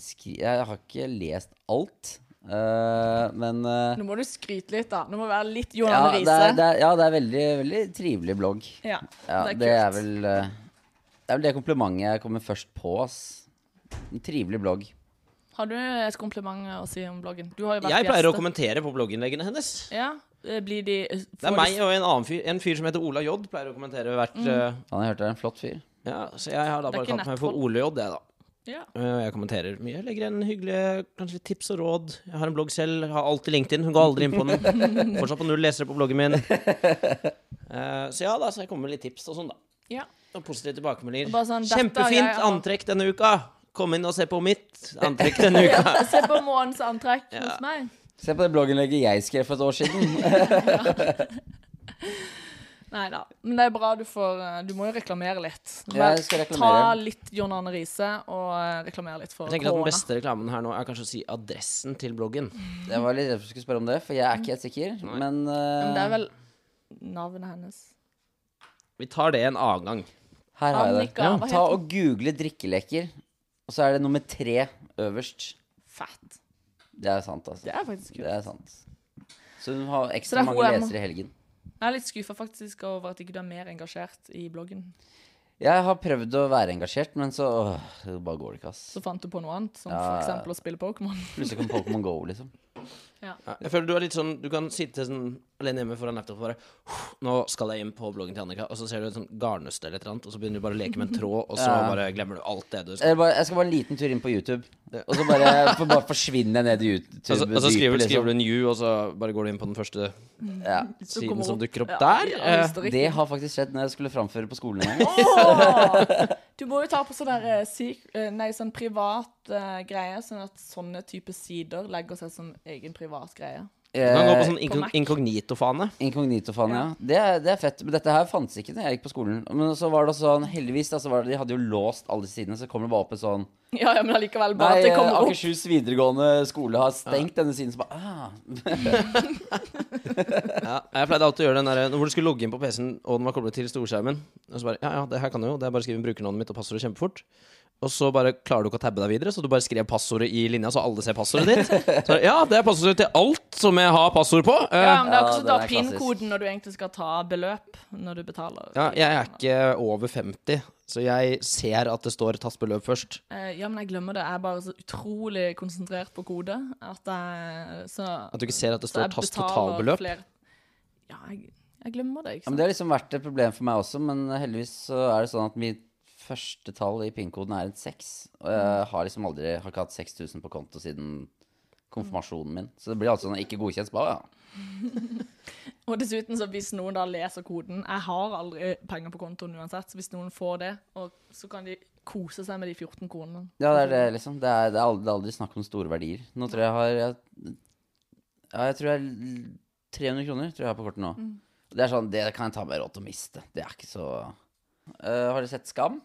S3: skri Jeg har ikke lest alt. eh, men eh,
S1: Nå må du skryte litt, da. Nå må du være litt Johan
S3: ja, det
S1: Riise.
S3: er, det er, ja, det er veldig, veldig trivelig blogg.
S1: Ja,
S3: Ja,
S1: det er kult.
S3: det er vel eh, Det er vel det komplimentet jeg kommer først på, ass. En trivelig blogg.
S1: Har du et kompliment å si om bloggen? Du har jo vært
S2: Jeg pleier å
S1: gjeste.
S2: kommentere på blogginnleggene hennes.
S1: Ja, eh, blir de
S2: Det er meg og en annen fyr, en fyr som heter Ola J, pleier å kommentere hvert eh,
S3: Han jeg hørte er en flott fyr.
S2: Ja, så jeg har da
S1: Mm. Det er
S2: bare
S1: ikke
S2: kalt meg
S1: nettfolk.
S2: for Ole J, jeg, da.
S1: Ja.
S2: Eh, Jeg kommenterer mye. Jeg legger igjen hyggelige kanskje litt tips og råd. Jeg har en blogg selv. jeg Har alltid LinkedIn. Hun går aldri inn på
S1: [laughs]
S2: den. Fortsatt på null lesere på bloggen min. Eh, Så ja da, så jeg kommer med litt tips og sånn, da.
S1: ja.
S2: Og positive tilbakemeldinger.
S1: Bare sånn, dette har jeg-
S2: Kjempefint antrekk denne uka! Kom inn og se på
S1: [laughs]
S2: mitt antrekk denne uka.
S1: Se på månens antrekk hos meg.
S3: Se på det blogginnlegget jeg skrev for et
S1: [laughs]
S3: år siden.
S1: Nei da. Men det er bra du får eh, Du må jo reklamere litt.
S3: Ja, jeg skal
S1: Ta
S3: reklamere.
S1: litt John Arne Riise og eh, reklamere litt for
S2: Jeg tenker at Den
S1: korona.
S2: beste reklamen her nå er kanskje å si adressen til bloggen.
S3: Jeg var litt redd for at du skulle spørre om det, for jeg er ikke helt sikker. Men, eh,
S1: Men det er vel navnet hennes.
S2: Vi tar det en annen gang.
S3: her har jeg det.
S1: Annika, hva
S3: Ta
S1: heter
S3: og Google drikkeleker, og så er det nummer tre øverst.
S1: Fett.
S3: Det er sant, altså.
S1: Det er faktisk
S3: Det
S1: kult.
S3: er sant. Så hun har
S1: Så
S3: ekstra
S1: det er
S3: mange
S1: HM.
S3: lesere i helgen.
S1: Jeg er litt skuffa faktisk over at ikke du er mer engasjert i bloggen.
S3: Jeg har prøvd å være engasjert, men så åh, det bare går det ikke, ass.
S1: Så fant du på noe annet, som
S3: Ja.
S1: for eksempel å spille Pokémon. [laughs]
S3: Plutselig kom Pokémon Go, liksom.
S2: Jeg føler Du er litt sånn, du kan sitte sånn alene hjemme foran laptop og bare «Huff, Nå skal jeg inn på bloggen til Annika, og så ser du et sånn garnnøste eller et eller annet, og så begynner du bare å leke med en tråd, og så
S3: Ja.
S2: bare glemmer du alt det du skal
S3: Jeg, bare, jeg skal bare en liten tur inn på YouTube, og så bare, for bare forsvinner jeg ned i
S2: [laughs]
S3: YouTube.
S2: Og så, og så skriver, skriver du en you, og så bare går du inn på den første
S3: Ja.
S1: Så
S2: siden
S1: kommer
S2: som
S1: opp.
S2: dukker opp
S1: Ja,
S2: der.
S1: i
S2: Eh,
S1: Østerrike.
S3: liksom. Det har faktisk skjedd når jeg skulle framføre på skolen en gang.
S1: Åh! Du må jo ta på sånn der, eh, sik- eh, nei, sånn privat eh, greie, sånn at sånne type sider legger seg som egen privat greie. [laughs]
S2: Du kan gå på
S3: Eh,
S2: sånn
S1: På Mac.
S2: inkog- inkognito-fane.
S3: Inkognito-fan, ja. Det, er- det er fett. Men dette her fantes ikke da jeg gikk på skolen. Men så var det sånn, heldigvis, da, så var det, de hadde jo låst alle de sidene, så kommer det bare opp en sånn
S1: Ja, ja, men allikevel, bare
S3: Nei,
S1: at det
S3: eh,
S1: kommer opp.
S3: Akershus videregående skole har stengt denne siden, så bare ah.
S2: Ja, jeg pleide alltid å gjøre den der hvor du skulle logge inn på PC-en, og den var koblet til storskjermen. Og så bare Ja, ja, det her kan jeg jo. Det er bare å skrive inn brukernavnet mitt og passordet kjempefort. Og så bare klarer du ikke å tabbe deg videre, så du bare skrev passordet i linja, så alle ser passordet ditt. Så, ja, det er passordet til alt som jeg har passord på. Eh,
S1: Ja, men det er
S3: Ja,
S1: akkurat
S3: den
S1: da
S3: er klassisk.
S1: PIN-koden når du egentlig skal ta beløp når du betaler.
S2: ja, jeg er ikke over 50, så jeg ser at det står tastbeløp først.
S1: Eh, Ja, men jeg glemmer det. Jeg er bare så utrolig konsentrert på kode at jeg så,
S2: At du ikke ser at det
S1: så jeg
S2: står tast
S1: betaler
S2: totalbeløp.
S1: flere- Ja, jeg, jeg glemmer det, ikke
S3: Ja, men
S1: sant.
S3: det har liksom vært et problem for meg også, men heldigvis så er det sånn at mitt første
S1: Mm.
S3: tall i PIN-koden er en 6. Og jeg har liksom aldri har ikke hatt 6000 på konto siden konfirmasjonen min. Så det blir altså sånn ikke godkjent. så Bare, ja.
S1: Og dessuten, så hvis noen da leser koden Jeg har aldri penger på kontoen uansett, så hvis noen får det, og så kan de kose seg med de 14 kronene.
S3: ja, det er det, liksom. Det er, det er aldri, det er aldri snakk om store verdier. Nå tror jeg jeg har jeg, Ja, jeg tror jeg l- 300 kroner tror jeg har på kortet nå. Det er sånn, det kan jeg ta meg råd til å miste. Det er ikke så Eh, Har du sett Skam?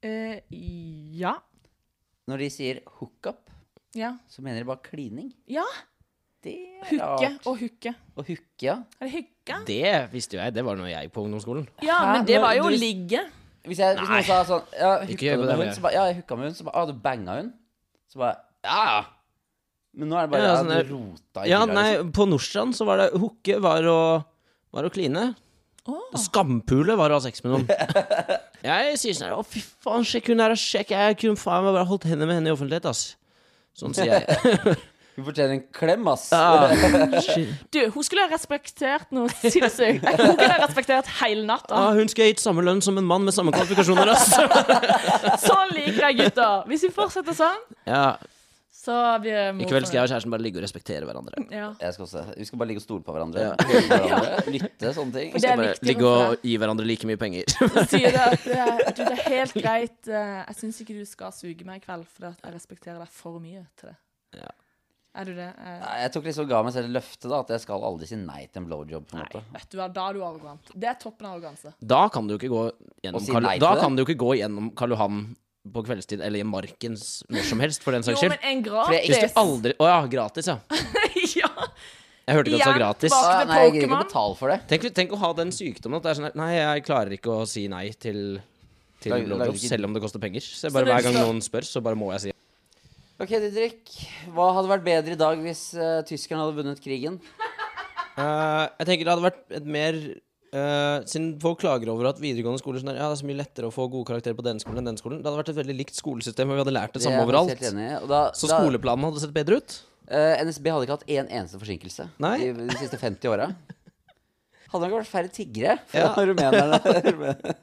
S1: Eh, ja.
S3: Når de sier hookup,
S1: Ja.
S3: så mener de bare klining.
S1: ja.
S3: Det er
S1: Hooke
S3: rart.
S1: og hooke.
S3: Og hooke, ja.
S1: Er det hooke?
S2: Det visste jo jeg. Det var noe jeg på ungdomsskolen.
S1: Ja,
S3: Hæ?
S1: men det var jo
S3: Du-
S1: å ligge.
S3: Hvis, jeg, hvis
S2: Nei.
S3: noen sa sånn ja,
S2: Ikke
S3: hooka
S2: gjør
S3: du
S2: på
S3: med
S2: det,
S3: hun?
S2: jeg.
S3: Så bare, ja, jeg hooka med hun. Så bare, ah, du banga hun? Så bare, ja, ja. Men nå er det bare,
S2: Ja,
S3: ja,
S2: sånn der-
S3: du rota i
S2: Ja,
S3: fylla,
S2: nei,
S3: liksom.
S2: på Nordstrand så var det hooke var å, var å kline.
S1: Åh.
S2: Skampule var å ha sex med noen.
S3: [laughs]
S2: Jeg sier sånn her, Å, fy faen, sjekk hun her, sjekk. Jeg kunne faen meg bare holdt hendene med henne i offentlighet, ass. Sånn sier
S3: [laughs]
S2: jeg.
S3: Hun fortjener en klem, ass.
S2: Ja, shit.
S1: Du, hun skulle ha respektert noe sinnssykt. Hun kunne ha respektert hele natta.
S2: Ja, «Ah, hun skulle ha gitt samme lønn som en mann med samme kvalifikasjoner, ass.
S3: [laughs]
S2: Ah.
S1: Sånn liker jeg gutter. Hvis vi fortsetter sånn,
S2: Ja,
S1: så blir
S2: I
S1: mor
S2: kveld skal jeg og kjæresten bare ligge og respektere hverandre.
S1: fornøyd. ja.
S3: Jeg skal også. Vi skal bare ligge og stole på hverandre.
S2: [laughs] Ja.
S3: Høre på hverandre Lytte, sånne ting.
S1: Det er
S2: Bare
S1: viktig
S2: ligge
S1: for
S2: og gi hverandre like mye penger. [laughs]
S1: Sier det at eh, du, det er helt greit. eh, Jeg syns ikke du skal suge meg i kveld, for jeg respekterer deg for mye til det.
S2: Ja.
S1: Er du det? Eh,
S3: Nei, Jeg tok liksom og ga meg selv løftet da, at jeg skal aldri si nei til en blowjob. på en måte.
S1: Vet du hva, da er du arrogant. Det er toppen av arroganse.
S2: Da kan du jo ikke gå gjennom,
S3: Og si
S2: Karl,
S3: nei til
S2: da
S3: det.
S2: kan du jo ikke gå gjennom Karl Johan på kveldstid, eller i marken s- når som helst, for den
S1: Jo,
S2: saks skyld.
S1: men en
S2: Hvis
S1: gratis
S2: du aldri Å ja, gratis, ja.
S1: [laughs] ja.
S2: Jeg hørte ikke at det var
S1: Igjen,
S2: gratis.
S1: bak-
S3: Ah,
S1: Akkurat
S3: nei, jeg gidder ikke
S1: Pokémon.
S3: å betale for det.
S2: Tenk, tenk å ha den sykdommen at det er sånn her Nei, jeg klarer ikke å si nei til til
S3: Lag- lager
S2: blowjob,
S3: ikke-
S2: selv om det koster penger. Så jeg bare
S1: Så
S2: Hver
S1: du
S2: gang
S1: skal-
S2: noen spør, så bare må jeg si
S3: Ok, Didrik. Hva hadde vært bedre i dag hvis uh, tyskerne hadde vunnet krigen?
S2: Eh, jeg tenker det hadde vært et mer eh, Siden folk klager over at videregående skoler sånn der, Ja, det er så mye lettere å få gode karakterer på den skolen enn den skolen. Det hadde vært et veldig likt skolesystem, og vi hadde lært det
S3: er
S2: samme
S3: jeg faktisk
S2: overalt.
S3: helt enig i. Og da,
S2: Så
S3: da-
S2: skoleplanene hadde sett bedre ut.
S3: Eh, NSB hadde ikke hatt én eneste forsinkelse
S2: Nei.
S3: i de siste 50 åra. Hadde det ikke vært færre tiggere
S2: [laughs]
S3: fra
S2: Ja.
S3: rumenerne? Rumenerne.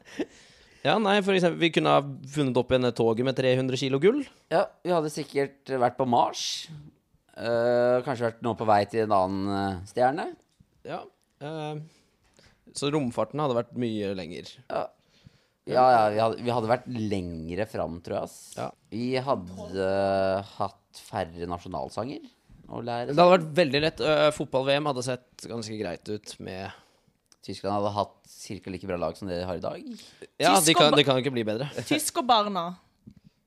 S2: Ja, nei, for eksempel, vi kunne ha funnet opp igjen det toget med 300 kilo gull.
S3: ja, vi hadde sikkert vært på Mars. Eh, kanskje vært nå på vei til en annen eh, stjerne.
S2: Ja. eh, så romfarten hadde vært mye lenger.
S3: Ja, ja, vi hadde, vi hadde vært lengre fram, tror jeg. Ass.
S2: Ja.
S3: Vi hadde hatt færre nasjonalsanger å lære.
S2: Det hadde vært veldig lett. eh, Fotball-VM hadde sett ganske greit ut med
S3: Tyskland hadde hatt ca. like bra lag som det de har i dag.
S2: Ja,
S1: Tysk
S2: det
S1: og
S2: kan,
S1: ba-
S2: det kan ikke bli bedre.
S1: Tyskerbarna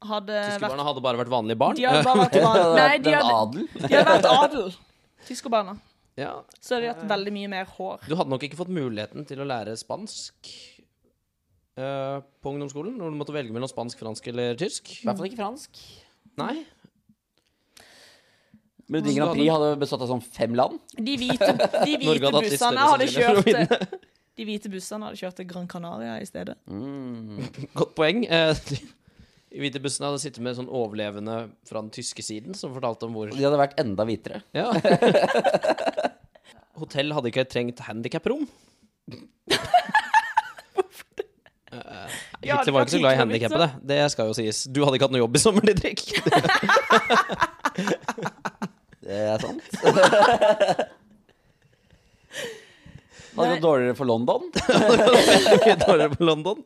S1: hadde vært
S2: Tyskerbarna hadde bare vært vanlige barn. Eh,
S1: De hadde bare
S2: [laughs]
S1: vært
S3: Det
S1: barn.
S3: hadde
S1: Nei,
S3: vært
S1: de
S3: en
S1: hadde,
S3: adel.
S1: de hadde vært adel. Tyskerbarna.
S2: Ja.
S1: Så hadde de hatt veldig mye mer hår.
S2: Du hadde nok ikke fått muligheten til å lære spansk eh, på ungdomsskolen, når du måtte velge mellom spansk, fransk eller tysk.
S3: I hvert fall ikke fransk.
S2: Nei.
S3: Melodi Grand Prix hadde bestått av sånn fem land.
S1: De hvite, de
S2: Norge
S1: hvite
S2: hadde hatt litt
S1: bussene
S2: større
S1: hadde
S2: sannsynlighet
S1: kjørt
S2: for å
S1: til De hvite bussene hadde kjørt til Gran Canaria i stedet.
S2: Godt poeng. Eh, [laughs] de hvite bussene hadde sittet med sånn overlevende fra den tyske siden, som fortalte om hvor
S3: Og de hadde vært enda hvitere.
S2: Ja. [laughs] Hotell hadde ikke trengt handikaprom.
S1: Ja,
S2: Hitler Eh, var ikke så glad
S1: det
S2: i
S1: var
S2: handikappede. Det skal jo sies. Du hadde ikke hatt noe jobb i sommer, [laughs] Didrik.
S3: Det er
S1: [laughs]
S3: sant. Hadde
S1: Nei.
S3: gått dårligere for London.
S2: Mye dårligere på London.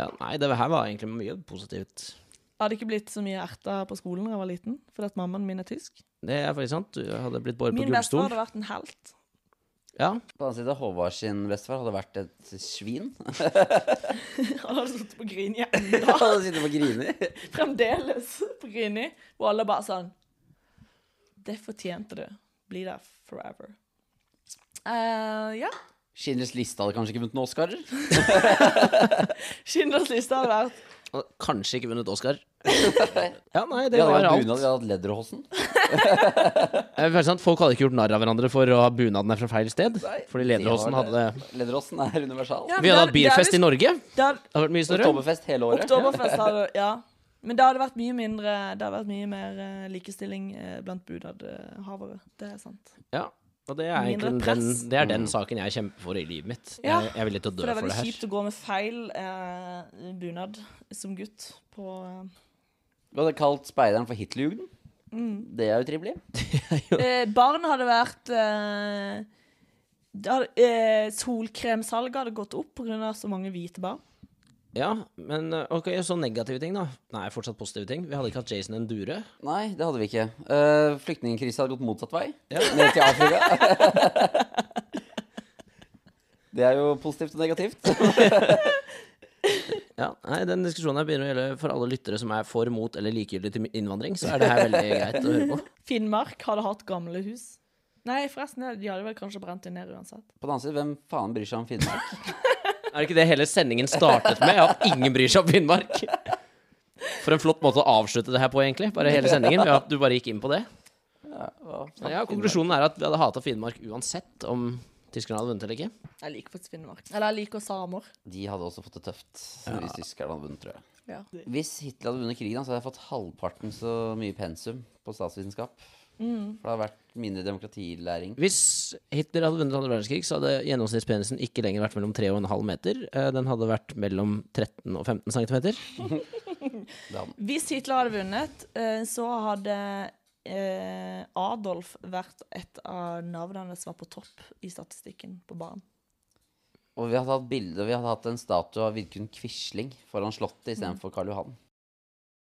S2: Ja, nei, det her var egentlig mye positivt.
S1: Jeg hadde ikke blitt så mye erta på skolen da jeg var liten, fordi at mammaen min er tysk.
S2: Det er faktisk sant. Du hadde blitt båret på
S1: Min bestefar
S2: gullstol.
S1: hadde vært en helt. [laughs]
S2: Ja.
S3: På den annen side, Håvard sin bestefar hadde vært et svin.
S1: Han hadde sittet på Grini
S3: [laughs] Han
S2: [laughs]
S1: ennå.
S3: hadde sittet og grinet.
S1: Fremdeles på Grini. Og alle bare sånn Det fortjente du. Bli der forever. Eh, ja.
S3: Schindlers liste hadde kanskje ikke vunnet noen Oscarer.
S1: Schindlers liste hadde vært
S2: Og Kanskje ikke vunnet Oscar. Ja, nei,
S3: Vi
S2: det
S3: hadde
S2: var
S3: hatt
S2: alt.
S3: bunad, vi hadde hatt [laughs] Lederhosen.
S2: Eh, faktisk sant, Folk hadde ikke gjort narr av hverandre for å ha bunaden er fra feil sted. Fordi Lederåsen
S3: var
S2: hadde det.
S3: Lederhosen er universal.
S1: Ja,
S2: Vi hadde
S1: det er-
S2: hatt
S1: det
S2: bilfest
S1: er
S2: i Norge. Det
S1: det hadde-
S2: hadde vært mye større.
S3: Oktoberfest hele året.
S1: Oktoberfest hadde Ja. Men det hadde vært mye mindre Det hadde vært mye mer eh, likestilling eh, blant budadhavere. Det er sant.
S2: Ja, og det er
S1: Mindre
S2: egentlig den,
S1: press.
S2: det er den saken jeg kjemper for i livet mitt.
S1: Ja,
S2: Jeg, jeg er villig til
S1: For
S2: å dø
S1: det er
S2: for det
S1: veldig
S2: her.
S1: kjipt å gå med feil eh, bunad som gutt på eh,
S2: [laughs]
S3: Vi hadde kalt speideren for Hitlerjugend.
S2: Mm.
S3: Det er jo trivelig.
S1: Eh, barn hadde vært eh, det hadde, eh, Solkremsalget hadde gått opp pga. så mange hvite barn.
S2: Ja, men eh, ok, så negative ting, da. Nei, fortsatt positive ting. Vi hadde ikke hatt Jason Endure.
S3: Nei, det hadde vi ikke. Uh, Flyktningkrisa hadde gått motsatt vei. [laughs] Ned til Afrika. [laughs] det er jo positivt og negativt.
S2: Ja, nei, Den diskusjonen her begynner å gjelde for alle lyttere som er for, mot eller likegyldig til innvandring. Så er det
S1: [laughs]
S2: her veldig greit å høre på.
S1: Finnmark hadde hatt gamle hus. Nei, forresten, de hadde vel kanskje brent det ned uansett.
S3: På den annen side, hvem faen bryr seg om Finnmark?
S2: Er det ikke det hele sendingen startet med? At ingen bryr seg om Finnmark? For en flott måte å avslutte det her på, egentlig. Bare hele sendingen. ved at du bare gikk inn på det. Ja, Konklusjonen er at vi hadde hata Finnmark uansett om tyskerne hadde vunnet eller ikke.
S1: Jeg liker faktisk Finnmark. Eller jeg liker samer.
S3: De hadde også fått det tøft hvis tyskerne hadde vunnet, tror jeg.
S1: Ja.
S3: Hvis Hitler hadde vunnet krigen, da, så hadde jeg fått halvparten så mye pensum på statsvitenskap.
S2: Mm.
S3: For det hadde vært mindre demokratilæring.
S2: Hvis Hitler hadde vunnet andre verdenskrig, så hadde gjennomsnittspenisen ikke lenger vært mellom 3 og en halv meter. Eh, Den hadde vært mellom 13 og 15 centimeter.
S1: Hvis Hitler hadde vunnet, eh, så hadde eh, Adolf vært et av navnene som var på topp i statistikken på barn.
S3: Og vi hadde hatt bilde, vi hadde hatt en statue av Vidkun Quisling foran Slottet istedenfor Karl Johan.